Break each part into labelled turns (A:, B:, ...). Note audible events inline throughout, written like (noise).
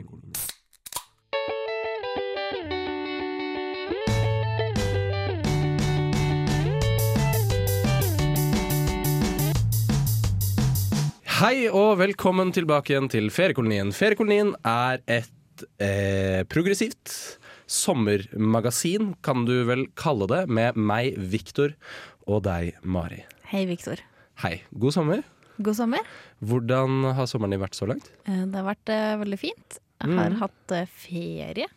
A: Feriekolonien.
B: Hei og velkommen tilbake igjen til Feriekolonien. Feriekolonien er et eh, progressivt sommermagasin, kan du vel kalle det, med meg, Viktor, og deg, Mari.
C: Hei, Viktor.
B: Hei, god sommer.
C: God sommer.
B: Hvordan har sommeren din vært så langt?
C: Eh, Det har vært eh, veldig fint. Jeg har hatt eh, ferie.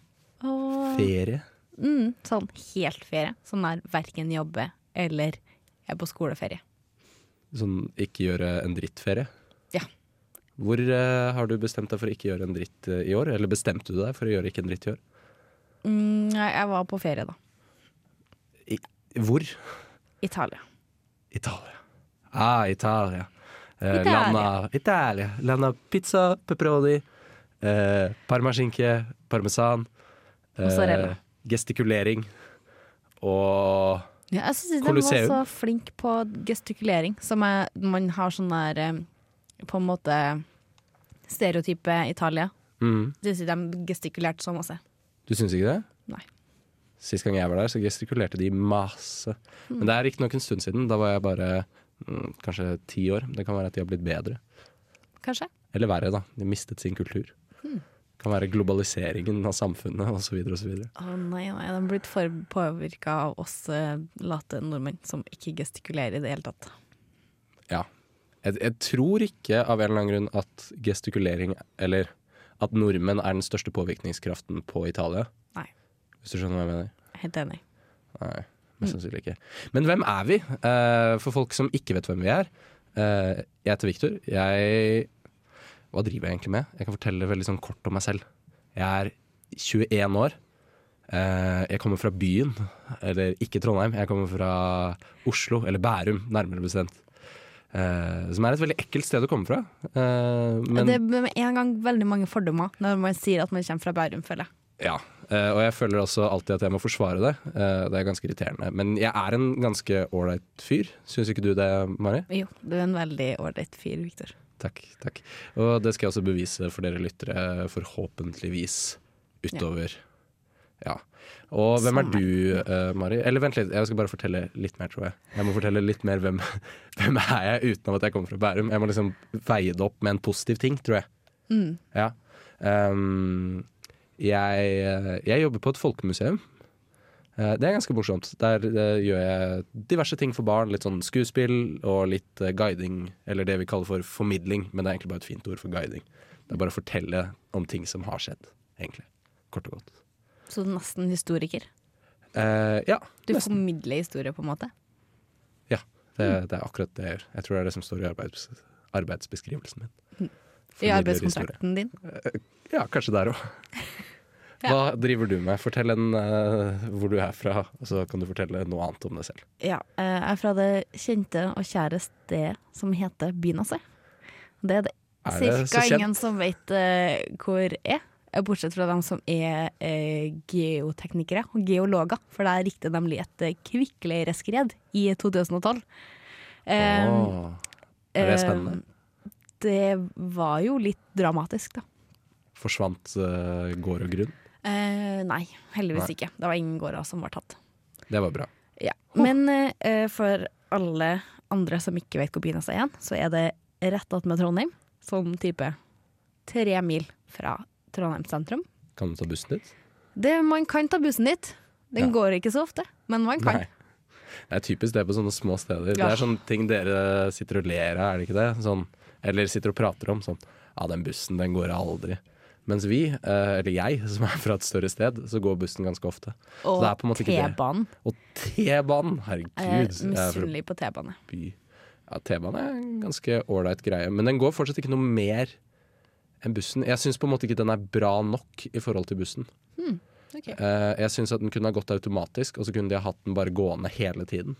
C: Og
B: Ferie?
C: mm, sånn helt ferie. Sånn er verken jobbe eller jeg er på skoleferie.
B: Sånn ikke gjøre en drittferie?
C: Ja.
B: Hvor eh, har du bestemt deg for å ikke gjøre en dritt eh, i år? Eller bestemte du deg for å gjøre ikke en dritt i år?
C: Mm, jeg jeg var på ferie, da.
B: Hvor?
C: Italia.
B: Italia. Ah, Italia. Eh,
C: Italia.
B: Landa, Italia. Landa pizza, pepperoni, eh, parmaskinke, parmesan. eh,
C: Mozzarella.
B: gestikulering. Og
C: Ja, jeg syns de var
B: Colosseum.
C: så flink på gestikulering. Som er, man har sånn der eh, på en måte stereotype Italia.
B: mm,
C: Jeg syns de gestikulerte så masse.
B: Du syns ikke det?
C: Nei.
B: Sist gang jeg var der, så gestikulerte de masse. Men det er riktignok en stund siden. Da var jeg bare mm, kanskje ti år. Det kan være at de har blitt bedre.
C: Kanskje?
B: Eller verre, da. De mistet sin kultur. Kan være globaliseringen av samfunnet osv. osv.
C: Å nei, nei, de er blitt for påvirka av oss eh, late nordmenn som ikke gestikulerer i det hele tatt.
B: Ja. Jeg, jeg tror ikke av en eller annen grunn at gestikulering Eller at nordmenn er den største påvirkningskraften på Italia.
C: Nei.
B: Hvis du skjønner hva jeg mener?
C: Jeg er Helt enig.
B: Nei, mest sannsynlig ikke. Men hvem er vi? Eh, for folk som ikke vet hvem vi er. eh, jeg heter Viktor. Jeg Hva driver jeg egentlig med? Jeg kan fortelle veldig sånn kort om meg selv. Jeg er 21 år. Eh, jeg kommer fra byen, eller ikke Trondheim. Jeg kommer fra Oslo, eller Bærum, nærmere bestemt. Eh, som er et veldig ekkelt sted å komme fra. Eh, men
C: det er med en gang veldig mange fordommer når man sier at man kommer fra Bærum, føler jeg.
B: Ja, eh, og jeg føler også alltid at jeg må forsvare det. Eh, Det er ganske irriterende. Men jeg er en ganske ålreit fyr. Syns ikke du det, Mari?
C: Jo, du er en veldig ålreit fyr, Viktor.
B: Takk. takk. Og det skal jeg også bevise for dere lyttere, forhåpentligvis utover. Ja. Og hvem er du, eh, Mari? Eller vent litt, jeg skal bare fortelle litt mer, tror jeg. Jeg må fortelle litt mer hvem, (laughs) hvem er jeg utenom at jeg kommer fra Bærum. Jeg må liksom veie det opp med en positiv ting, tror jeg. Ja. Ehm, jeg, eh, jeg jobber på et folkemuseum. Eh, Det er ganske morsomt. Der eh, gjør jeg diverse ting for barn. Litt sånn skuespill og litt eh, guiding, eller det vi kaller for formidling. Men det er egentlig bare et fint ord for guiding. Det er bare å fortelle om ting som har skjedd, egentlig. Kort og godt.
C: Så du er nesten historiker.
B: Eh, ja.
C: Du
B: nesten.
C: formidler historie, på en måte.
B: ja. Det, det er akkurat det jeg gjør. Jeg tror det er det som står i arbeids, arbeidsbeskrivelsen min.
C: I
B: Formidler
C: arbeidskontrakten din.
B: Ja, kanskje der òg. Hva driver du med? Fortell en eh, hvor du er fra, og så kan du fortelle noe annet om deg selv.
C: Ja, eh, jeg er fra det kjente og kjære stedet som heter Byneset. Det er det
B: Er det så
C: cirka
B: kjent?
C: ingen som vet eh, hvor er, eh, bortsett fra dem som er eh, geoteknikere og geologer, for der riktig nemlig et eh, kvikkleire skred i 2012. Eh,
B: Åh, er det
C: eh,
B: spennende?
C: Det var jo litt dramatisk, da.
B: Forsvant eh, gård og grunn?
C: Eh, nei, heldigvis
B: Nei.
C: ikke. Det var ingen gårder som var tatt.
B: Det var bra.
C: Ja. Men eh, for alle andre som ikke vet hvor Byneset er, igjen, så er det rett attmed Trondheim. Sånn type tre mil fra Trondheim sentrum.
B: Kan du ta bussen dit?
C: Det, man kan ta bussen dit. Den
B: Ja.
C: går ikke så ofte, men man kan.
B: Nei. Det er typisk det på sånne små steder. Det
C: Ja.
B: er sånne ting dere sitter og ler av, er det ikke det? Sånn, eller sitter og prater om sånn Ja, den bussen, den går aldri. Mens vi, eh, eller jeg, (laughs) som er fra et større sted, så går bussen ganske ofte. Så det er på en
C: Og
B: måte ikke det.
C: T-banen.
B: Og T-banen!
C: Eh,
B: Herregud. jeg er fra
C: Misunnelig på T-bane.
B: by. Ja, T-banen er en ganske ålreit greie, men den går fortsatt ikke noe mer enn bussen. Jeg syns på en måte ikke den er bra nok i forhold til bussen. Eh, jeg syns at den kunne ha gått automatisk, og så kunne de ha hatt den bare gående hele tiden.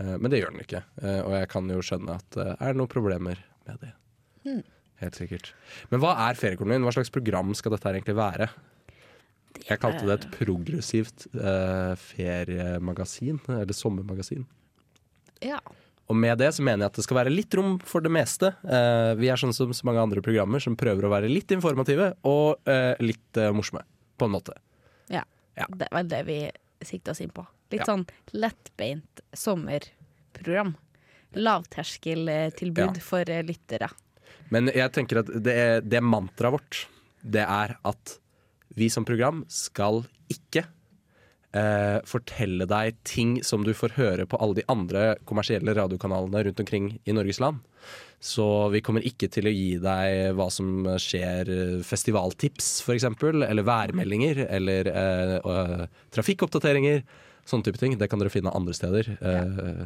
B: Eh, men det gjør den ikke, Eh, og jeg kan jo skjønne at eh, er det noen problemer med det. Helt sikkert. Men hva er feriekolonien? Hva slags program skal dette her egentlig være? Jeg kalte det et progressivt eh, feriemagasin, eller sommermagasin.
C: Ja.
B: Og med det så mener jeg at det skal være litt rom for det meste. Eh, vi er sånn som så mange andre programmer som prøver å være litt informative og eh, litt eh, morsomme, på en måte.
C: Ja.
B: Ja.
C: Det var det vi sikta oss inn på. Litt
B: Ja.
C: sånn lettbeint sommerprogram. Lavterskeltilbud
B: Ja.
C: for eh, lyttere.
B: Men jeg tenker at det, er- det mantraet vårt, det er at vi som program skal ikke eh, fortelle deg ting som du får høre på alle de andre kommersielle radiokanalene rundt omkring i Norges land. Så vi kommer ikke til å gi deg hva som skjer, eh, festivaltips f.eks., eller værmeldinger, eller eh, og, eh, trafikkoppdateringer. Sånne type ting. Det kan dere finne andre steder. Eh,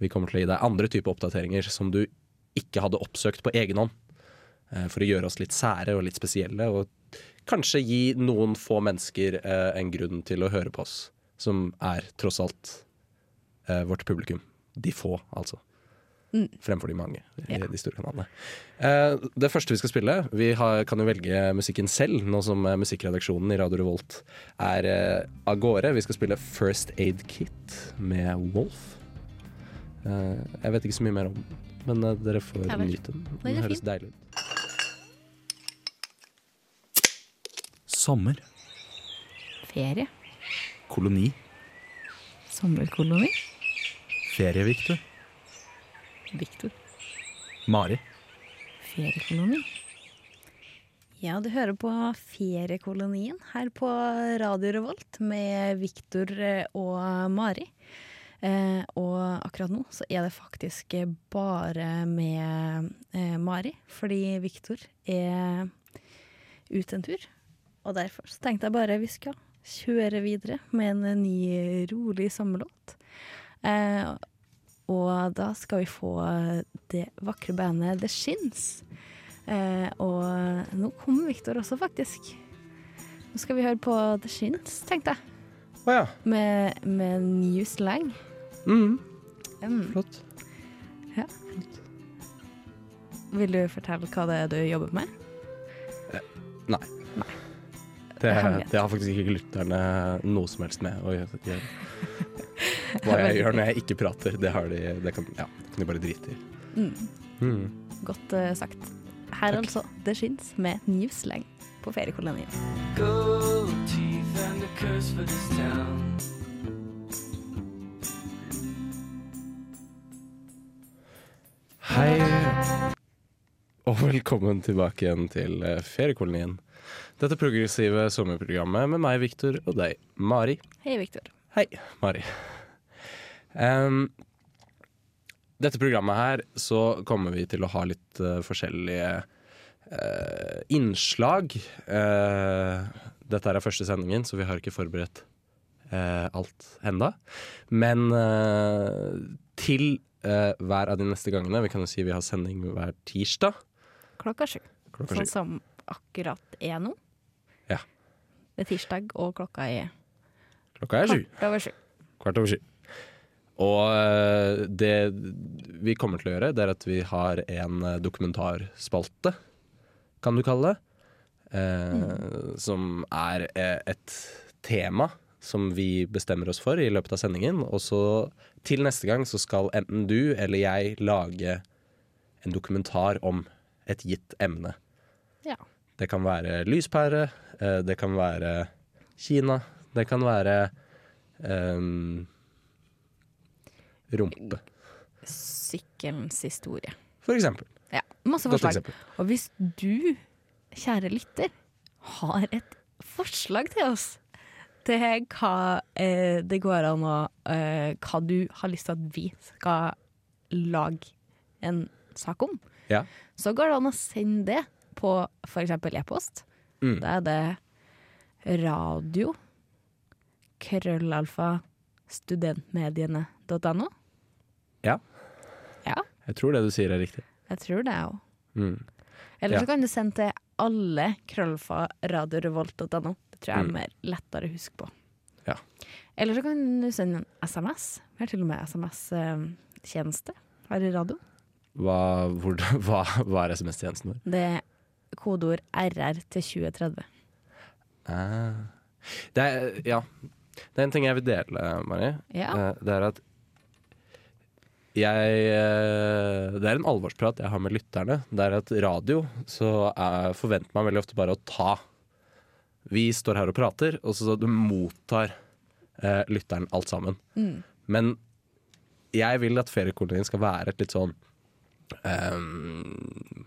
B: vi kommer til å gi deg andre typer oppdateringer som du ikke hadde oppsøkt på egen hånd. eh, For å gjøre oss litt sære og litt spesielle, og kanskje gi noen få mennesker eh, en grunn til å høre på oss. Som er tross alt eh, vårt publikum. De få, altså. Fremfor de mange i
C: Mm. Ja.
B: de store kanalene. Eh, det første vi skal spille Vi har, kan jo velge musikken selv, nå som eh, musikkredaksjonen i Radio Revolt er eh, av gårde. Vi skal spille First Aid Kit med Wolf. Eh, jeg vet ikke så mye mer om den, men eh, dere får
C: Ja vel.
B: nyte den.
C: Den
B: Den
C: er
B: høres
C: fin.
B: deilig ut.
A: Sommer.
C: Ferie.
A: Koloni.
C: Sommerkoloni.
A: Ferie, Victor.
C: Viktor.
A: Mari.
C: Feriekoloni. Ja, du hører på Feriekolonien her på Radio Revolt med Viktor og Mari. Eh, og akkurat nå så er det faktisk bare med eh, Mari, fordi Viktor er ute en tur. Og derfor så tenkte jeg bare vi skal kjøre videre med en ny rolig sommerlåt. Eh, og da skal vi få eh, det vakre bandet The Shins. Eh, og nå kommer Victor også, faktisk. Nå skal vi høre på The Shins, tenkte jeg.
B: Å ja.
C: Med, med New Slang.
B: Mm,
C: Mm.
B: flott.
C: Vil du fortelle hva det er du jobber med?
B: Det,
C: Det hemmelighet.
B: det har faktisk ikke lytterne noe som helst med å gjøre. Hva jeg gjør når jeg ikke prater, det, har de, det kan, ja, det kan de bare drite i.
C: Mm.
B: Mm.
C: Godt eh, sagt. Her
B: Takk.
C: altså The Shins med New Slang på feriekolonien.
D: Gold teeth and a curse for this town.
B: Hei, og velkommen tilbake igjen til eh, Feriekolonien. Dette progressive sommerprogrammet med meg, Victor, og deg, Mari.
C: Hei, Victor.
B: Hei, Mari. Em, dette programmet her så kommer vi til å ha litt eh, forskjellige eh, innslag. Eh, dette er første sendingen, så vi har ikke forberedt eh, alt enda. Men eh, til eh, hver av de neste gangene Vi kan jo si vi har sending hver tirsdag.
C: Klokka sju.
B: Klokka
C: Sånn
B: sju.
C: som akkurat er nå.
B: Ja.
C: Det er tirsdag, og klokka er
B: Klokka er sju.
C: kvart over sju.
B: Kvart over sju. Og eh, det vi kommer til å gjøre, det er at vi har en eh, dokumentarspalte, kan du kalle det. Eh, Som er eh, et tema som vi bestemmer oss for i løpet av sendingen. Og så til neste gang så skal enten du eller jeg lage en dokumentar om et gitt emne.
C: Ja.
B: Det kan være lyspære, eh, det kan være Kina, det kan være ehm, rumpe,
C: sykkelens historie.
B: for eksempel.
C: Ja, masse
B: Godt
C: forslag.
B: eksempel.
C: Og hvis du, kjære lytter, har et forslag til oss til hva eh, det går an å eh, Hva du har lyst til at vi skal lage en sak om,
B: Ja.
C: så går det an å sende det på f.eks. e-post.
B: Mm.
C: Da er det radio krøllalfa studentmediene.no.
B: ja,
C: Ja,
B: jeg tror det du sier er riktig.
C: jeg tror det òg.
B: Mm.
C: Eller
B: Ja.
C: så kan du sende til alle krøllfa radiorevolt.no. Det tror jeg er
B: Mm.
C: mer lettere å huske på.
B: Ja.
C: Eller så kan du sende en SMS. Vi har til og med SMS-tjeneste eh, her i radio.
B: Hva, hvor, (laughs) hva, hva er SMS-tjenesten vår?
C: Det er kodeord RR til 2030.
B: Ah. Det er, Eh, ja. Det er en ting jeg vil dele, Mari.
C: Ja.
B: Eh, Det er at jeg, eh, det er en alvorsprat jeg har med lytterne. Det er at radio så er, forventer man veldig ofte bare å ta. Vi står her og prater, og så du mottar eh, lytteren alt sammen. Men jeg vil at feriekolonien din skal være et litt sånn ehm,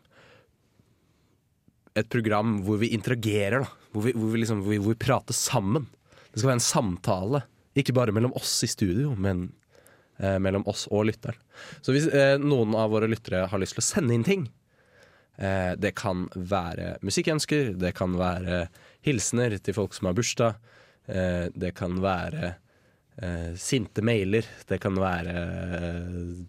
B: Et program hvor vi interagerer, da. Hvor vi, hvor vi, liksom, hvor vi, hvor vi prater sammen. Det skal være en samtale. Ikke bare mellom oss i studio, men eh, mellom oss og lytteren. Så hvis eh, noen av våre lyttere har lyst til å sende inn ting eh, Det kan være musikkønsker, det kan være hilsener til folk som har bursdag, eh, det kan være eh, sinte mailer, det kan være eh,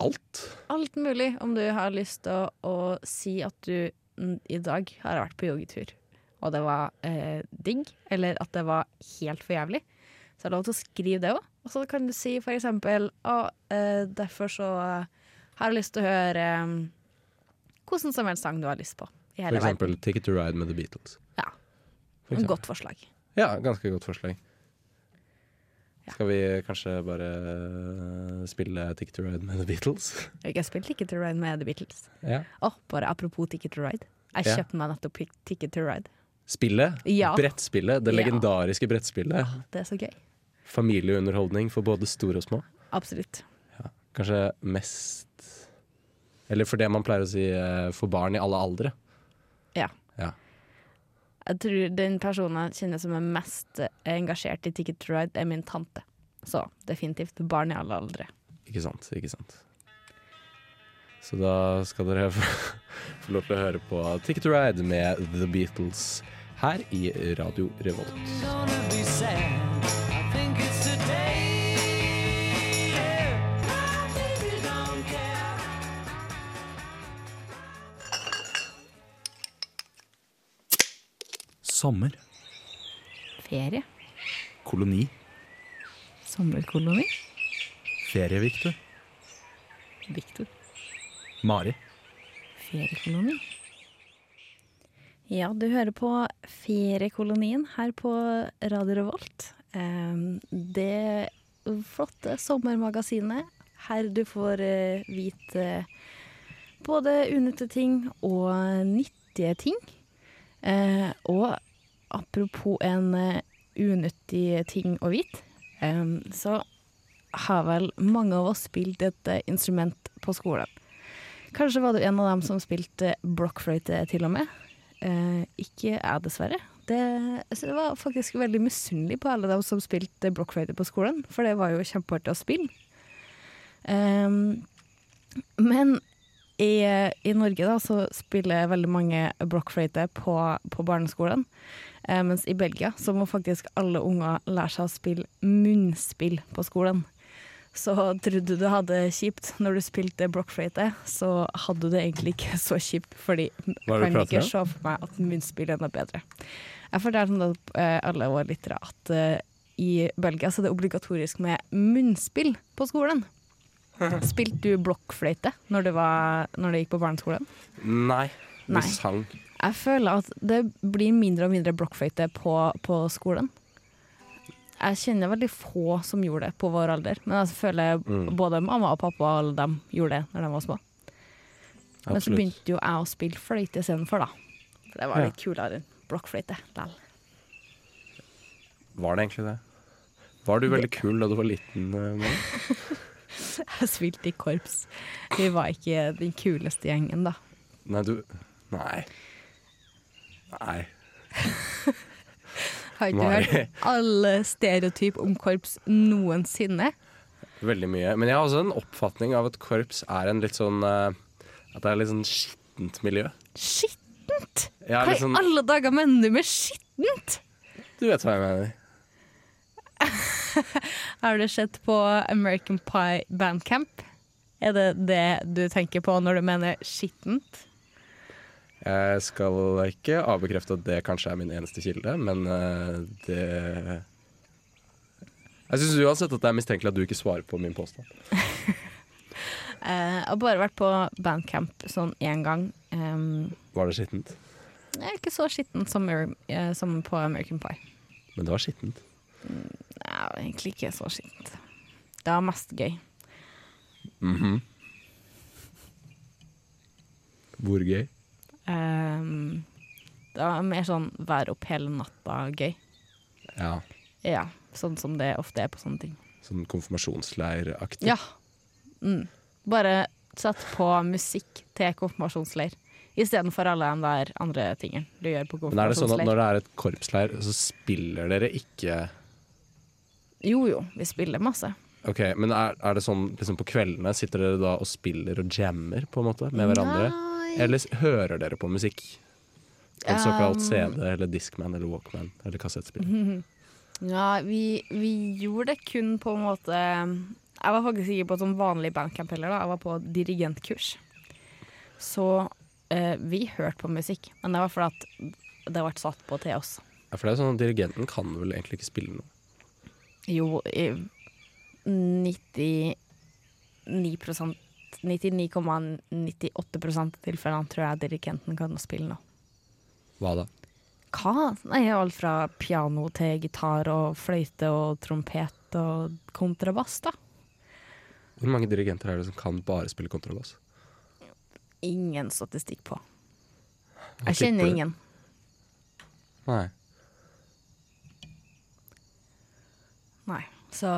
B: alt.
C: Alt mulig om du har lyst til å, å si at du mm, i dag har vært på joggetur, og det var eh, digg, eller at det var helt for jævlig. Så er det lov til å skrive det òg. Og så kan du si for eksempel å, eh, derfor så har jeg lyst til å høre eh, hvordan som helst sang du har lyst på. I
B: For
C: hele verden.
B: eksempel Take It To Ride med The Beatles.
C: Ja.
B: For
C: Et
B: eksempel.
C: godt forslag.
B: Ja, ganske godt forslag.
C: Ja.
B: Skal vi kanskje bare eh, spille Ticket to Ride med The Beatles?
C: Jeg har spilt Ticket to Ride med The Beatles.
B: Ja.
C: Å, bare apropos Ticket to Ride. Jeg
B: Ja.
C: kjøpte meg nettopp Ticket to Ride.
B: Spillet?
C: Ja.
B: Brettspillet? Det
C: Ja.
B: legendariske brettspillet?
C: Det er så gøy.
B: Familieunderholdning for både store og små?
C: Absolutt.
B: Kanskje mest Eller for det man pleier å si eh, for barn i alle aldre.
C: Ja.
B: Ja.
C: Jeg tror den personen jeg kjenner som er mest engasjert i Ticket to Ride, er min tante. Så definitivt barn i alle aldre.
B: Ikke sant, ikke sant. Så da skal dere (laughs) få, få lov til å høre på Ticket to Ride med The Beatles her i Radio Revolt.
D: Gonna be sad. I think it's today. Yeah. I really don't care.
A: Sommer.
C: Ferie.
A: Koloni.
C: Sommerkoloni.
A: Ferie, Victor.
C: Viktor.
A: Mari.
C: Feriekoloni. Ja, du hører på Feriekolonien her på Radio Revolt. Em, Det flotte sommermagasinet her du får eh, vite både unyttige ting og nyttige ting. Eh, og apropos en eh, unyttig ting å vite, em, så har vel mange av oss spilt et eh, instrument på skolen. Kanskje var du en av dem som spilte blokkfløyte til og med. Eh, ikke jeg, dessverre. Det, så jeg var faktisk veldig misunnelig på alle dem som spilte blokkfløyte på skolen, for det var jo kjempeartig å spille. Ehm, men i, i Norge da, så spiller veldig mange blokkfløyte på, på barneskolen. Eh, mens i Belgia så må faktisk alle unger lære seg å spille munnspill på skolen. Så trodde du hadde det kjipt når du spilte blokkfløyte, så hadde du det egentlig ikke så kjipt, fordi
B: Hva er det
C: jeg
B: du
C: kan
B: prater
C: ikke
B: om?
C: se for meg at munnspill er noe bedre. Jeg fortalte nå eh, alle våre lyttere at eh, i Belgia så er det obligatorisk med munnspill på skolen. Spilte du blokkfløyte når du, var, når du gikk på barneskolen?
B: Nei. Vi
C: Nei.
B: sang.
C: Jeg føler at det blir mindre og mindre blokkfløyte på, på skolen. Jeg kjenner veldig få som gjorde det på vår alder, men jeg føler
B: Mm.
C: både mamma og pappa og alle dem gjorde det når de var små. Men så
B: Absolutt.
C: begynte jo jeg å spille fløyte istedenfor, da. For det
B: Ja.
C: var litt kulere enn blokkfløyte. Lell.
B: Var det egentlig det? Var du veldig kul da du var liten? eh, Mona?
C: (laughs) Jeg spilte i korps. Vi var ikke den kuleste gjengen, da.
B: Nei, du Nei. Nei.
C: Har ikke
B: Mari.
C: hørt alle stereotyp om korps noensinne?
B: Veldig mye. Men jeg har også en oppfatning av at korps er en litt sånn eh, At det er litt sånn skittent miljø.
C: Skittent!
B: Ja,
C: Hva
B: litt sånn-
C: i alle dager mener du med E skittent?
B: Du vet hva jeg mener.
C: Har du sett på American Pie Bandcamp? Er det det du tenker på når du mener skittent?
B: Jeg skal ikke avbekrefte at det kanskje er min eneste kilde, men eh, det Jeg syns uansett at det er mistenkelig at du ikke svarer på min påstand.
C: Eh, jeg har bare vært på bandcamp sånn én gang. Um,
B: Var det skittent?
C: jeg er ikke så skitten som, Amer- eh, som på American Pie.
B: Men det var skittent.
C: Nei, det var egentlig ikke så skittent. Det var mest gøy.
B: Hvor gøy?
C: Ehm, det var mer sånn være opp hele natta-gøy.
B: Ja.
C: Ja, sånn som det ofte er på sånne ting.
B: Sånn konfirmasjonsleiraktig.
C: Ja. Mm. Bare sett på musikk til konfirmasjonsleir istedenfor alle de der andre tingene du gjør på
B: Men er det sånn at
C: konfirmasjonsleir.
B: når det er et korpsleir, så spiller dere ikke
C: Jo jo, vi spiller masse.
B: Ok, men er, er det sånn liksom på kveldene sitter dere da og spiller og jammer på en måte med hverandre? Eller s- hører dere på musikk? En
C: Um.
B: såkalt CD eller Discman eller Walkman eller
C: Mhm.
B: kassettspiller?
C: Ja, vi, vi gjorde det kun på en måte Jeg var faktisk ikke på et sånn vanlig bandcamp heller, da. Jeg var på dirigentkurs. Så eh, vi hørte på musikk, men det var fordi at det ble satt på til oss.
B: Ja, for det er sånn at Dirigenten kan vel egentlig ikke spille noe.
C: Jo, i 99 99,98 av tilfellene tror jeg dirigenten kan spille nå.
B: Hva da?
C: Hva? Nei, alt fra piano til gitar og fløyte og trompet og kontrabass, da.
B: Hvor mange dirigenter er det som kan bare spille altså? kontrabass?
C: Ingen statistikk på.
B: Hva
C: Jeg kjenner
B: tipper du?
C: ingen.
B: Nei.
C: Nei. Så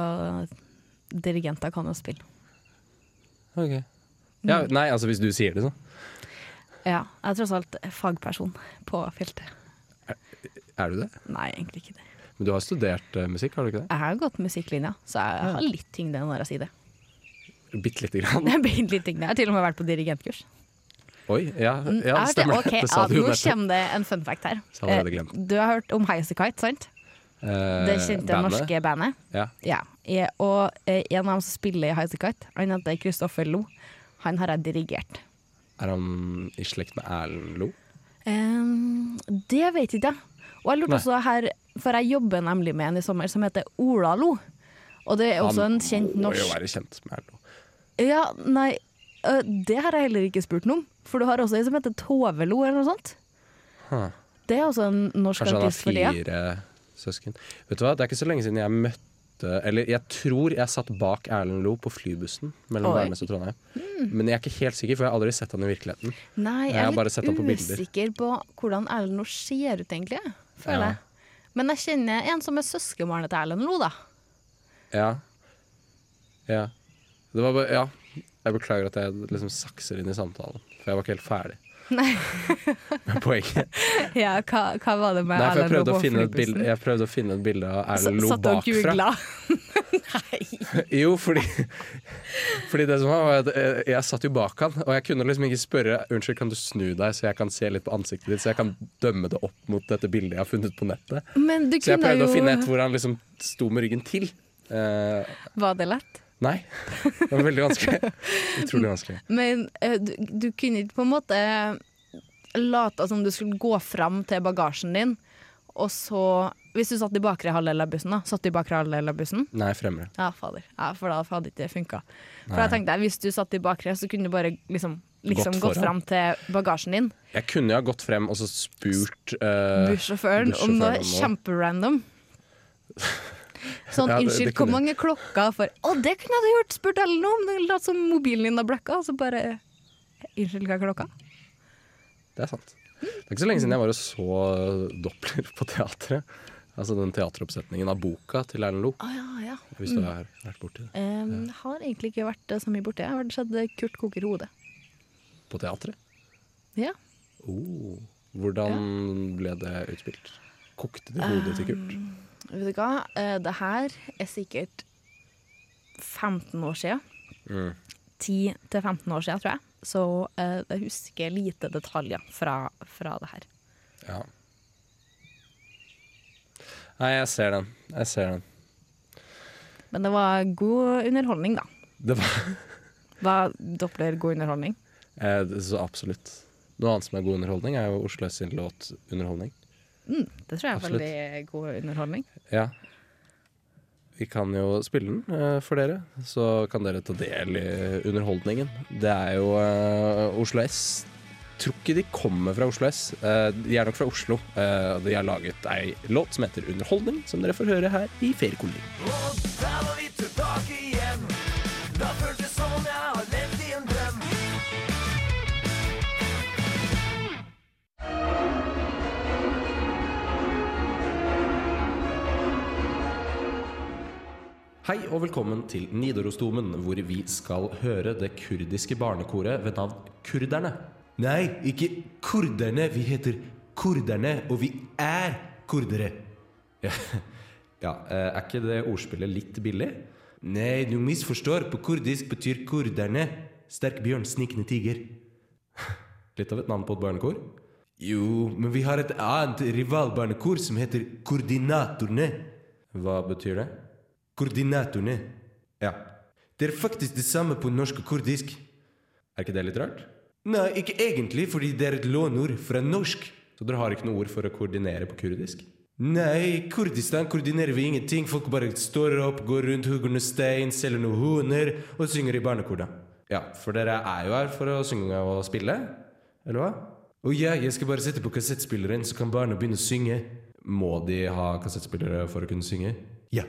C: dirigenter kan jo spille.
B: Ok.
C: Mm.
B: Ja, nei, altså hvis du sier det, så.
C: Ja, jeg er tross alt fagperson på feltet.
B: Er du det?
C: Nei, egentlig ikke det.
B: Men du har studert eh, musikk, har du ikke det?
C: Jeg har gått musikklinja, så jeg har litt tyngde når jeg sier det.
B: Bitte lite grann.
C: (laughs) Det er bitte litt ting. Jeg har til og med vært på dirigentkurs.
B: (laughs) Oi, ja, ja
C: Jeg har
B: stemmer
C: det. Mm, ah, Ok,
B: det. Det sa du jo
C: ja, nå
B: nettopp.
C: kommer det en fun fact her.
B: Så allerede
C: Eh,
B: glemt.
C: Du har hørt om Highasakite, sant?
B: Eh,
C: Det kjente
B: bandet.
C: norske bandet.
B: Ja.
C: Ja. Eh, Og eh, en av dem som spiller i Highasakite, han heter Kristoffer Lo. Han har jeg dirigert.
B: Er han i slekt med Erlend Lo?
C: Ehm, det vet ikke jeg. Og jeg lurte
B: Nei.
C: også her, for jeg jobber nemlig med en i sommer som heter Ola Lo. Og det er også en kjent
B: Han må jo
C: norsk
B: være kjent med Erlend Lo.
C: Ja, nei, ø, det har jeg heller ikke spurt noen. For du har også en som heter Tovelo eller noe sånt.
B: Huh.
C: Det er også en norsk
B: Kanskje han har
C: artist for tida.
B: fire søsken. Vet du hva, Det er ikke så lenge siden jeg møtte Eller jeg tror jeg satt bak Erlend Lo på flybussen mellom
C: Oi. Mm.
B: Værnes og Trondheim. Men jeg er ikke helt sikker, for jeg har aldri sett han i virkeligheten.
C: Nei,
B: Jeg
C: jeg
B: har
C: er
B: bare sett han på
C: litt
B: bilder.
C: usikker på hvordan Erlend Loe ser ut, egentlig.
B: Ja.
C: Føler jeg. Men jeg kjenner en som er søskenbarnet til Erlend Loe, da.
B: Ja. Ja. Det var bare Ja. Jeg beklager at jeg liksom sakser inn i samtalen, for jeg var ikke helt ferdig. (laughs)
C: Nei.
B: Med poenget.
C: (laughs) Ja, hva, hva var det med
B: Nei, for jeg
C: Erlend Loe
B: prøvde, å
C: på
B: finne et bilde,
C: flybussen?
B: jeg prøvde å finne et bilde av
C: Så-
B: Erlend Lo
C: Satt og
B: bakfra.
C: googla. (laughs) Nei.
B: (laughs) Jo, fordi, (laughs) fordi det som var, var at eh, jeg satt jo bak han, og jeg kunne liksom ikke spørre Unnskyld, kan du snu deg, så jeg kan se litt på ansiktet ditt, så jeg kan dømme det opp mot dette bildet jeg har funnet på nettet.
C: Men du
B: Så jeg
C: kunne
B: prøvde
C: jo
B: å finne et hvor han liksom sto med ryggen til. Eh,
C: Var det lett?
B: nei. Det var veldig
C: (laughs)
B: vanskelig. Utrolig vanskelig.
C: Men eh, du, du kunne ikke på en måte late som du skulle gå fram til bagasjen din, og så Hvis du satt i bakre halvdel av bussen, da. Satt du i bakre halvdel av bussen?
B: Nei, fremre.
C: Ja, fader. Ja, for da hadde ikke det funka. For
B: Nei.
C: jeg tenkte, hvis du satt i bakre, så kunne du bare liksom, liksom
B: Gått
C: gått
B: foran.
C: fram til bagasjen din.
B: Jeg kunne jo ha gått frem og så spurt eh,
C: Bussjåføren
B: bussjåføren om
C: om noe
B: noe. (laughs)
C: kjemperandom.
B: Ja, det-
C: Sånn,
B: det
C: unnskyld, hvor
B: kunne-
C: mange klokka for Å, det kunne jeg gjort! Spurt Ellen om! Det lot som mobilen din har blekka, og så bare Unnskyld, hva er klokka?
B: Det er sant. Det er ikke så lenge siden jeg var og så Doppler på teatret. Altså den teateroppsetningen av boka til Erlend Lo.
C: Å ja, ja.
B: Hvis du har vært borti det.
C: Um, Har egentlig ikke vært eh, så mye borti. Jeg har sett eh, Kurt koker hodet.
B: På teatret?
C: Ja.
B: Oh. Hvordan ble det utspilt? Kokte det hodet
C: Ah.
B: til Kurt?
C: Vet du hva, Eh, det her er sikkert 15 år siden.
B: Mm.
C: 10-15 år siden, tror jeg. Så eh, jeg husker lite detaljer fra, fra det her.
B: Ja. Nei, jeg ser den. Jeg ser den.
C: Men det var god underholdning, da.
B: Det var (laughs)
C: Var Doppler god underholdning?
B: eh, det- Så absolutt. Noe annet som er god underholdning, er jo Oslo S sin låt 'Underholdning'.
C: Det tror jeg er
B: Absolutt.
C: veldig god underholdning.
B: Ja. Vi kan jo spille den eh, for dere, så kan dere ta del i underholdningen. Det er jo eh, Oslo S. Tror ikke de kommer fra Oslo S. Eh, de er nok fra Oslo. Eh, og de har laget ei låt som heter 'Underholdning', som dere får høre her i Feriekolonien.
D: Og der var vi tilbake igjen. Da føltes som jeg
B: Hei og velkommen til Nidarosdomen, hvor vi skal høre det kurdiske barnekoret ved navn Kurderne. Nei, ikke kurderne. Vi heter Kurderne, og vi er kurdere. Ja, (laughs) ja eh, er ikke det ordspillet litt billig? Nei, du misforstår. På kurdisk betyr kurderne sterk bjørn, snikende tiger. (laughs) Litt av et navn på et barnekor? Jo, men vi har et annet rivalbarnekor som heter Koordinatorene. Hva betyr det? Koordinatorene. Ja. Det er faktisk det samme på norsk og kurdisk. Er ikke det litt rart? Nei, ikke egentlig, fordi det er et lånord fra norsk. Så dere har ikke noe ord for å koordinere på kurdisk? Nei, i Kurdistan koordinerer vi ingenting. Folk bare står opp, går rundt, hugger noe stein, selger noen honer og synger i barnekor, da. Ja, for dere er jo her for å synge og spille, eller hva? Å ja, jeg skal bare sette på kassettspilleren, så kan barna begynne å synge. Må de ha kassettspillere for å kunne synge? Ja.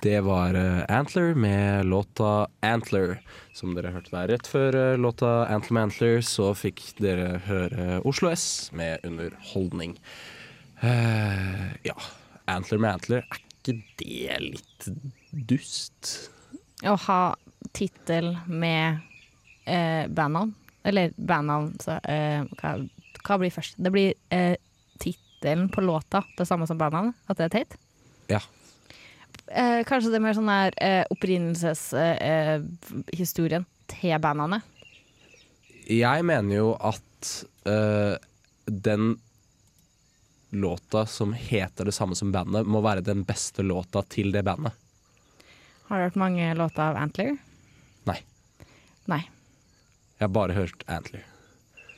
B: Det var eh, Antler med låta 'Antler'. Som dere hørte der rett før eh, låta 'Antler med Antler', så fikk dere høre Oslo S med 'Underholdning'. Eh, ja, 'Antler med Antler', er ikke det litt dust?
C: Å ha tittel med eh, bandnavn. Eller bandnavn så, eh, hva, hva blir først? Det blir eh, tittelen på låta, det samme som bandnavnet. At det er teit.
B: Ja.
C: Eh, kanskje det er mer sånn der eh, opprinnelseshistorien eh, historien til bandnavnet.
B: Jeg mener jo at eh, den låta som heter det samme som bandet, må være den beste låta til det bandet.
C: Har du hørt mange låter av Antler?
B: Nei.
C: Nei.
B: Jeg har bare hørt Antler.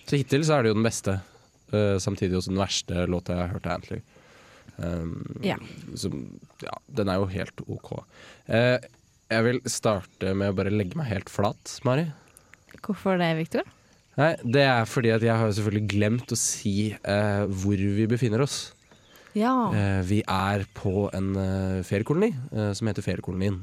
B: Så hittil så er det jo den beste. eh, samtidig også den verste låta jeg har hørt av Antler. Um,
C: Ja.
B: som, ja, den er jo helt OK. Eh, jeg vil starte med å bare legge meg helt flat, Mari.
C: Hvorfor det, Victor?
B: Nei, det er fordi at jeg har jo selvfølgelig glemt å si eh, hvor vi befinner oss.
C: Ja.
B: Eh, vi er på en eh, feriekoloni eh, som heter Feriekolonien.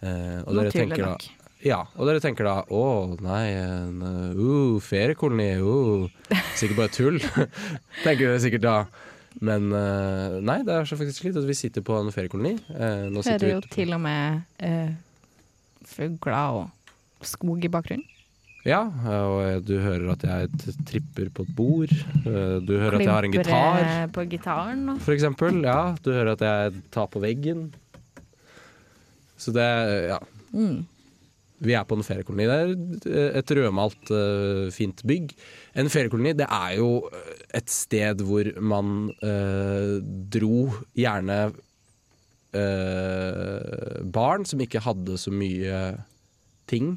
B: Eh, og dere
C: Naturlig
B: tenker da,
C: nok.
B: ja, og dere tenker da å nei, en, eh, uh, feriekoloni, uh, sikkert bare tull. (laughs) tenker dere sikkert da. Men eh, nei, det er så faktisk litt at vi sitter på en feriekoloni. Eh, nå sitter vi
C: Hører jo
B: ute på-
C: til og med eh, fugler og skog i bakgrunnen.
B: Ja, og eh, du hører at jeg t- tripper på et bord. Eh, du hører at jeg har en
C: Klimpre
B: gitar.
C: eh, På gitaren og
B: for eksempel. Ja, du hører at jeg tar på veggen. Så det ja. Vi er på en feriekoloni. Det er et rødmalt, eh, fint bygg. En feriekoloni det er jo eh, et sted hvor man eh, dro gjerne eh, barn som ikke hadde så mye ting.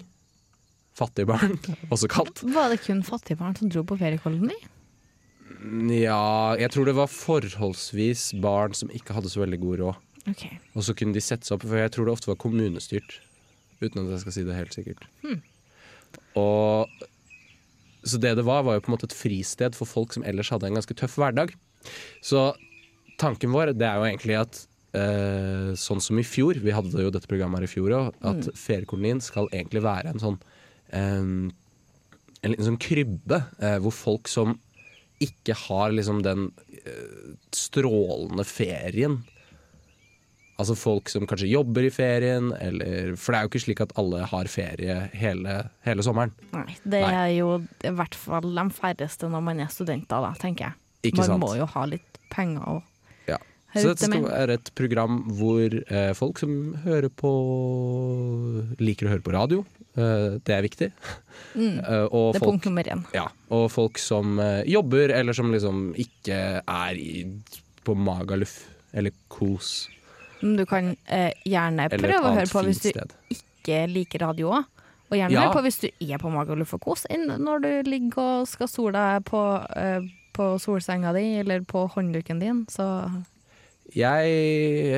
B: Fattige barn, (laughs) også kalt.
C: Var det kun fattige barn som dro på feriekoloni?
B: Ja, jeg tror det var forholdsvis barn som ikke hadde så veldig god råd.
C: Ok.
B: Og så kunne de sette seg opp, for jeg tror det ofte var kommunestyrt. Uten at jeg skal si det helt sikkert. Og Så det det var, var jo på en måte et fristed for folk som ellers hadde en ganske tøff hverdag. Så tanken vår det er jo egentlig at eh, sånn som i fjor, vi hadde jo dette programmet her i fjor òg, at feriekolonien skal egentlig være en sånn eh, en liten sånn krybbe eh, hvor folk som ikke har liksom den eh, strålende ferien Altså folk som kanskje jobber i ferien, eller For det er jo ikke slik at alle har ferie hele, hele sommeren.
C: Nei, det
B: Nei.
C: er jo i hvert fall de færreste når man er studenter, da, tenker jeg.
B: Ikke
C: man
B: sant?
C: må jo ha litt penger og
B: Ja. Så
C: Hører ut
B: dette
C: til
B: skal
C: meg.
B: være et program hvor eh, folk som hører på Liker å høre på radio. Eh, det er viktig. (laughs) Eh, og
C: Mm. Det er
B: folk
C: punkt nummer én.
B: Ja, og folk som eh, jobber, eller som liksom ikke er i, på Magaluf eller Kos.
C: Men du kan eh, gjerne
B: Eller
C: prøve å
B: et
C: høre
B: annet
C: på hvis
B: fint
C: du
B: sted.
C: ikke liker radio òg. Og gjerne
B: Ja.
C: hør på hvis du er på Magaluf og kos inn når du ligger og skal sole deg på, eh, på solsenga di eller på håndduken din, så
B: Jeg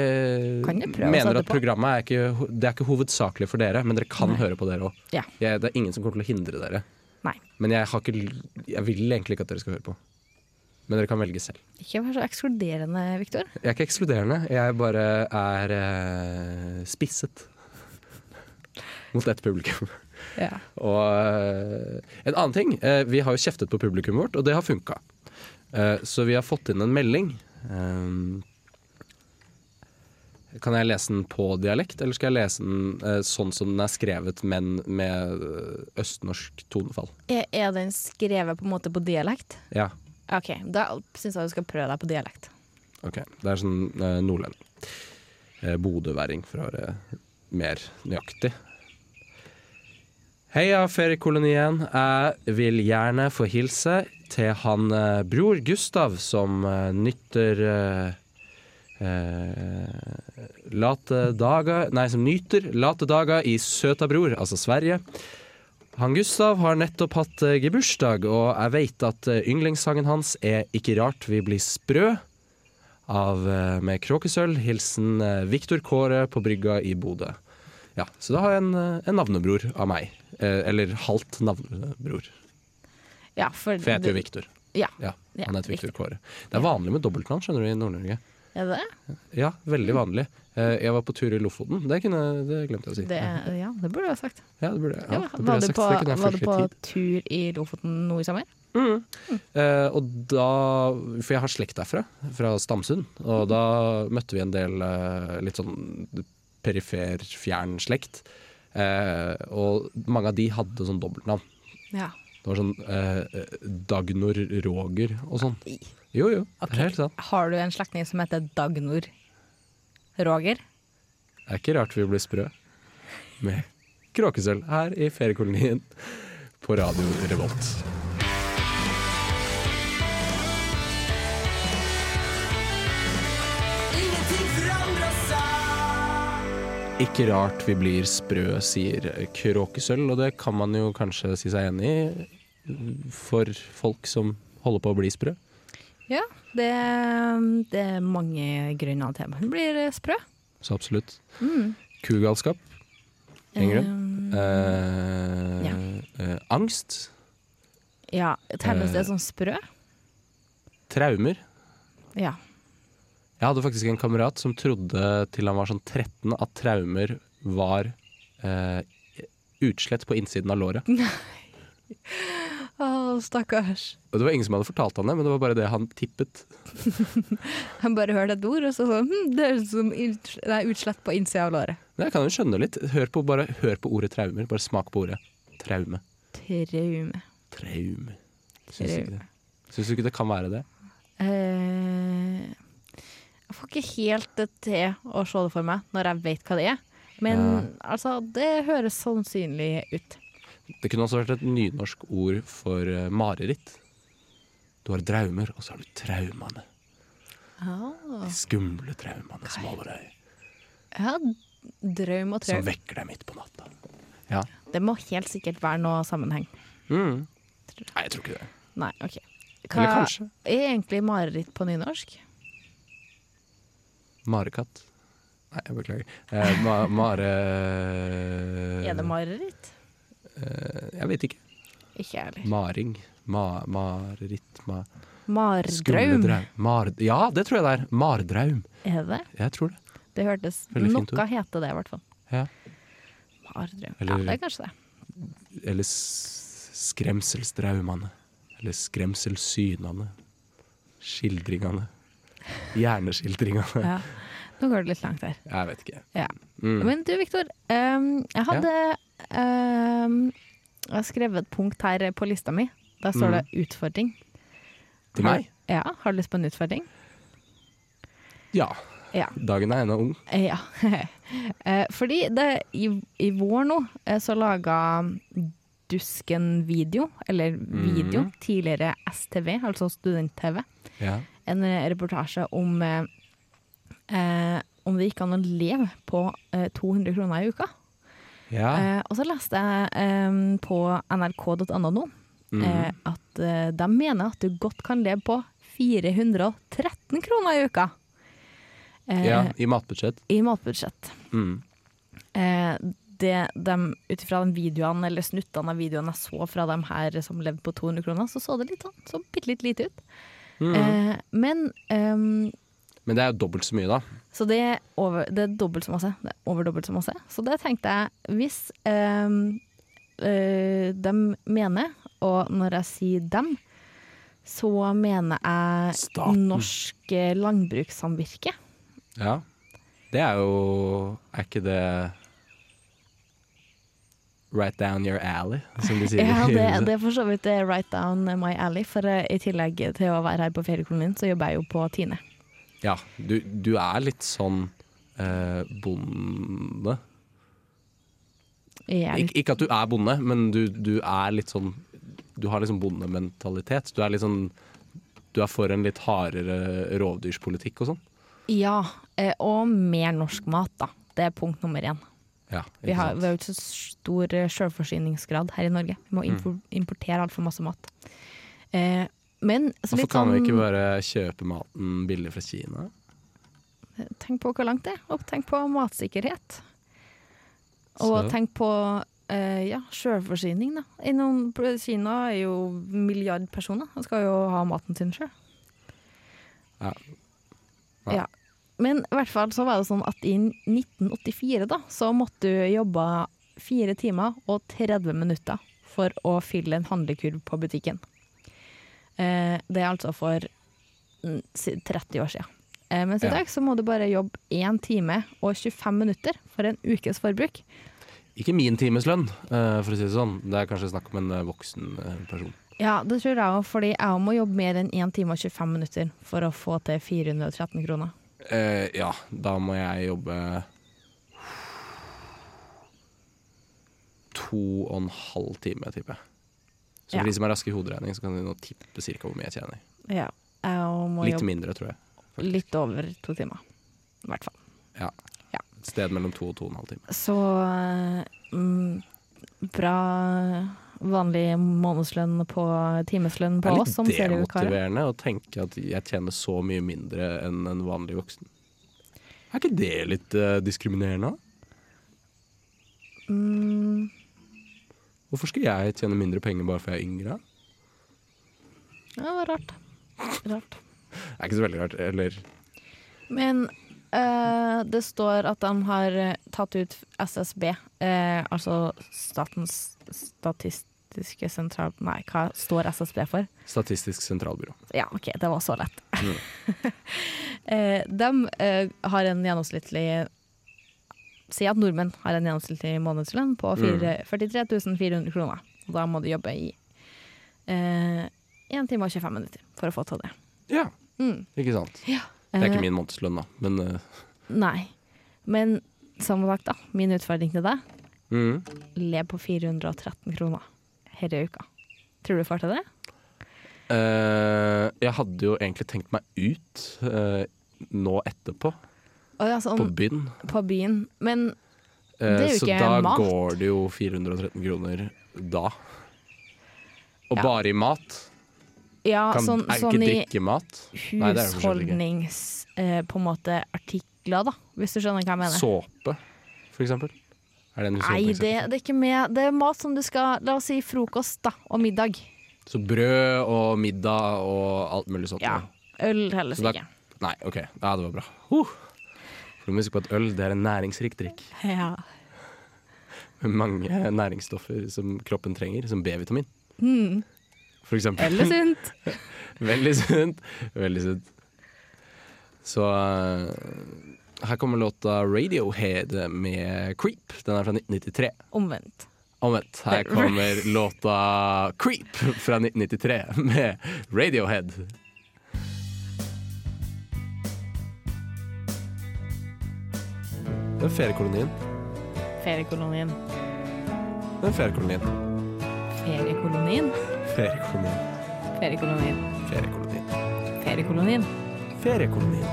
B: eh,
C: Kan jeg prøve å
B: mener
C: sette
B: at
C: på?
B: programmet er ikke, ho- det er ikke hovedsakelig for dere, men dere kan
C: Nei.
B: høre på dere òg.
C: ja.
B: Det er ingen som kommer til å hindre dere.
C: Nei.
B: Men jeg, har ikke, l- jeg vil egentlig ikke at dere skal høre på. Men dere kan velge selv.
C: Ikke vær så ekskluderende, Viktor.
B: Jeg er ikke ekskluderende, jeg bare er eh, spisset mot ett publikum.
C: Ja.
B: Og eh, en annen ting, eh, vi har jo kjeftet på publikummet vårt, og det har funka. Eh, så vi har fått inn en melding. Eh, kan jeg lese den på dialekt, eller skal jeg lese den eh, sånn som den er skrevet, men med eh, østnorsk tonefall?
C: Er, er den skrevet på en måte på dialekt?
B: Ja,
C: OK, da syns jeg du skal prøve deg på dialekt.
B: ok. Det er sånn eh, nordlending. Eh, Bodøværing, for å være mer nøyaktig. Heia feriekolonien. Jeg vil gjerne få hilse til han eh, bror Gustav som eh, nytter eh, eh, late dager Nei, som nyter late dager i søta bror, altså Sverige. Han Gustav har nettopp hatt eh, gebursdag, og jeg veit at eh, yndlingssangen hans er 'Ikke rart vi blir sprø' av eh, med kråkesølv. Hilsen eh, Viktor Kåre på brygga i Bodø. Ja, så da har jeg en, eh, en navnebror av meg. Eh, eller halvt navnebror.
C: Ja, for,
B: For jeg heter jo Viktor.
C: Ja.
B: Ja,
C: Ja,
B: han heter Viktor Kåre. Det er vanlig med dobbeltnavn skjønner du, i Nord-Norge.
C: Er det det?
B: Ja, veldig vanlig. Eh, jeg var på tur i Lofoten. Det, kunne, det glemte jeg å si.
C: det? Ja, det burde du ha sagt.
B: Ja, det burde, jeg- ja,
C: Ja,
B: det burde
C: var
B: jeg
C: du
B: sagt.
C: på,
B: det kunne jeg
C: var du
B: fulgt
C: på
B: litt tid.
C: tur i Lofoten nå i sommer?
B: Eh, og da For jeg har slekt derfra, fra Stamsund. Og da møtte vi en del eh, litt sånn perifer, fjern slekt. Eh, og mange av de hadde sånn dobbeltnavn.
C: Ja.
B: Det var sånn eh, Dagnor Roger og sånn. Jo, jo. Det er helt sant.
C: Har du en slektning som heter Dagnor Roger?
B: Det er ikke rart vi blir sprø med Kråkesølv her i feriekolonien på Radio Revolt. Ikke rart vi blir sprø, sier Kråkesølv, og det kan man jo kanskje si seg enig i for folk som holder på å bli sprø.
C: Ja, det, det er mange grunner til at man blir sprø.
B: Så absolutt. Kugalskap. Henger det?
C: Um,
B: Eh, eh, angst.
C: ja, telles
B: Eh.
C: det som sprø?
B: Traumer.
C: Ja.
B: Jeg hadde faktisk en kamerat som trodde til han var sånn 13 at traumer var eh, utslett på innsiden av låret.
C: Å, stakkars.
B: Og det var ingen som hadde fortalt han det, men det var bare det han tippet.
C: Jeg bare hørte et ord, og så sånn hm, Det høres ut som uts- nei, utslett på innsida av låret.
B: Men jeg kan jo skjønne litt. Hør på, bare hør på ordet traumer. Bare smak på ordet traume.
C: Traume.
B: Traume. Syns du ikke det? Syns du ikke det kan være det?
C: Eh, jeg får ikke helt det til å se det for meg når jeg vet hva det er. Men altså, det høres sannsynlig ut.
B: Det kunne også vært et nynorsk ord for eh, mareritt. Du har draumer, og så har du traumene. De skumle traumene som holder deg,
C: Ja, drøm og
B: som
C: traum.
B: vekker deg midt på natta. Ja.
C: Det må helt sikkert være noe sammenheng.
B: Mm. Nei, jeg tror ikke det.
C: Nei, OK.
B: Eller kanskje.
C: er egentlig mareritt på nynorsk?
B: Marekatt. Nei, jeg beklager. Eh, ma mare
C: Er
B: Eh.
C: det mareritt?
B: Jeg vet ikke.
C: Ikke jeg heller.
B: Maring. Ma mareritt ma
C: Mardraum,
B: Skumledraum. Mar ja, det tror jeg det er. Mardraum.
C: er det?
B: Jeg tror det.
C: Det hørtes
B: Veldig fint
C: Noe
B: ord.
C: heter det, i hvert fall.
B: Ja.
C: Mardraum. Ja,
B: Eller-
C: det er kanskje det.
B: Eller s- skremselsdraumene. Eller skremselssynene. Skildringene. Hjerneskildringene.
C: Ja. Nå går det litt langt her.
B: Jeg vet ikke.
C: Ja.
B: Mm.
C: Men du, Viktor. ehm, jeg hadde ehm, Jeg har skrevet et punkt her på lista mi. Der står det 'utfordring'.
B: Til meg?
C: Ja, Har du lyst på en utfordring?
B: Ja.
C: Ja.
B: Dagen er ennå ung.
C: Eh, ja. (laughs) Eh, Fordi det, i, i vår nå eh, så laga Dusken video, eller video, tidligere STV, altså student-TV,
B: Ja.
C: en eh, reportasje om eh, eh, om det gikk an å leve på eh, 200 kroner i uka.
B: ja.
C: Eh, og så leste jeg eh, på nrk.no nå
B: Mhm.
C: eh, at eh, de mener at du godt kan leve på 413 kroner i uka eh,
B: ja. I matbudsjett.
C: i matbudsjett.
B: Mm.
C: Eh, det, de, ut ifra de videoene eller snuttene av videoene jeg så fra de her som levde på 200 kroner, så så det litt sånn, så bitte litt lite ut.
B: Mhm.
C: Eh, men ehm,
B: Men det er jo dobbelt så mye, da.
C: Så det er, over, det er dobbelt så masse. Det er over dobbelt så masse. Så det tenkte jeg, hvis ehm, eh, de mener, og når jeg sier dem, så mener jeg
B: Staten.
C: Norsk eh, Landbrukssamvirke.
B: Ja. Det er jo Er ikke det Right down your alley, som de sier.
C: (laughs) Ja,
B: i
C: det,
B: USA.
C: det er for så vidt eh, right down my alley, for eh, i tillegg til å være her på feriekolonien, så jobber jeg jo på Tine.
B: Ja, du, du er litt sånn eh, bonde.
C: Jeg er
B: Ik ikke at du er bonde, men du, du er litt sånn Du har liksom bondementalitet. Du er litt sånn Du er for en litt hardere rovdyrspolitikk og sånn.
C: Ja, eh, og mer norsk mat, da. Det er punkt nummer én.
B: Ja,
C: Vi
B: ikke
C: har,
B: sant? Mm.
C: vi har jo ikke så stor eh, selvforsyningsgrad her i Norge. Vi må impor importere altfor masse mat. Eh, men så
B: Hvorfor
C: litt
B: kan
C: sånn
B: vi ikke bare kjøpe maten billig fra Kina?
C: Tenk på hvor langt det er, og tenk på matsikkerhet. Og
B: Så.
C: tenk på eh, ja, selvforsyning, da. Innom Kina er jo milliard personer. De skal jo ha maten sin sjøl.
B: Ja. Ja.
C: Ja. Men i hvert fall så var det sånn at i 1984 da, så måtte du jobbe fire timer og 30 minutter for å fylle en handlekurv på butikken. Eh, det er altså for mm, si- 30 år siden. Eh, mens i
B: Ja.
C: dag så må du bare jobbe én time og 25 minutter for en ukes forbruk.
B: Ikke min timeslønn, eh, for å si det sånn. Det er kanskje snakk om en eh, voksen eh, person.
C: Ja, det tror jeg òg, fordi jeg også må jobbe mer enn 1 time og 25 minutter for å få til 413 kroner.
B: Eh, ja, da må jeg jobbe To og en halv time, tipper jeg. Så for
C: Ja.
B: de som er raske i hoderegning, så kan de nå tippe cirka hvor mye jeg tjener.
C: Ja. Jeg også må
B: Litt
C: jobbe
B: mindre, tror jeg.
C: litt over to timer, i hvert fall.
B: Ja.
C: Ja.
B: Et sted mellom to og to og en halv time.
C: Så eh, mm, bra vanlig månedslønn på timeslønn
B: Det
C: på
B: er
C: oss som
B: litt
C: serievikarer.
B: demotiverende å tenke at jeg tjener så mye mindre enn en vanlig voksen. Er ikke det litt eh, diskriminerende? da?
C: Mm,
B: Hvorfor skal jeg tjene mindre penger bare fordi jeg er yngre?
C: ja, det var rart. rart.
B: Det er ikke så veldig rart. Eller
C: Men eh, det står at de har eh, tatt ut SSB, eh, altså Statens statistiske sentral... Nei, hva står SSB for?
B: Statistisk sentralbyrå.
C: Ja, ok, det var så lett. (laughs) Eh, de eh, har en gjennomsnittlig Si at nordmenn har en gjennomsnittlig månedslønn
B: Mm.
C: på fire, 43 400 kroner. Og da må du jobbe i eh, 1 time og 25 minutter for å få til det.
B: Ja,
C: Mm.
B: ikke sant.
C: Eh,
B: Det er ikke min månedslønn, da, men eh,
C: Nei. Men som sagt, da. Min utfordring til deg
B: mm.
C: lev på 413 kroner denne uka. Tror du får til det?
B: Eh, Jeg hadde jo egentlig tenkt meg ut eh, nå etterpå,
C: Å ja, sånn
B: på
C: på,
B: byen.
C: byen. Men
B: Eh,
C: Det er jo
B: så
C: ikke
B: da
C: mat.
B: går det jo 413 kroner da. Og
C: Ja.
B: bare i mat.
C: ja,
B: Kan,
C: sånn,
B: er
C: sånn
B: ikke
C: i
B: drikke mat? Nei, det er jo for så vidt ikke.
C: husholdnings eh, på en måte artikler, da, hvis du skjønner hva jeg mener.
B: Såpe, for eksempel. Er det en sånn
C: Nei,
B: husholdningsartikkel?
C: det, det er ikke med. Det er mat som du skal La oss si frokost da, og middag.
B: Så brød og middag og alt mulig sånt.
C: Ja.
B: da.
C: Øl heller
B: Så da-
C: ikke.
B: Nei, OK. Ja, det var bra. Uh. For du må huske på at øl det er en næringsrik drikk.
C: Ja.
B: med mange eh, næringsstoffer som kroppen trenger, som B-vitamin. For eksempel.
C: Eller sunt.
B: (laughs) Veldig sunt. Veldig sunt. Så eh, her kommer låta Radiohead med Creep. Den er fra 1993.
C: Omvendt.
B: Omvendt, her kommer låta Creep fra 1993 med Radiohead. Den feriekolonien.
C: Feriekolonien.
B: Den feriekolonien.
C: Feriekolonien.
B: Feriekolonien.
C: Feriekolonien.
B: Feriekolonien.
C: Feriekolonien.
B: feriekolonien.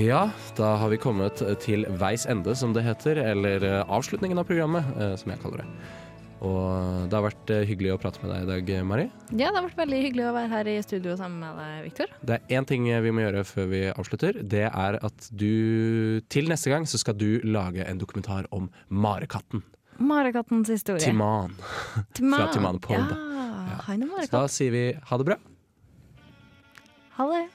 B: Ja, da har vi kommet til veis ende, som det heter. Eller eh, avslutningen av programmet, eh, som jeg kaller det. Og det har vært eh, hyggelig å prate med deg i dag, Mari.
C: Ja, det har vært veldig hyggelig å være her i studio sammen med deg, Viktor.
B: Det er én ting vi må gjøre før vi avslutter. Det er at du til neste gang så skal du lage en dokumentar om marekatten.
C: Marekattens historie.
B: Timan.
C: Timan.
B: Fra Timan Pod.
C: Ja. Hei nå,
B: Så da sier vi ha det bra.
C: Ha det.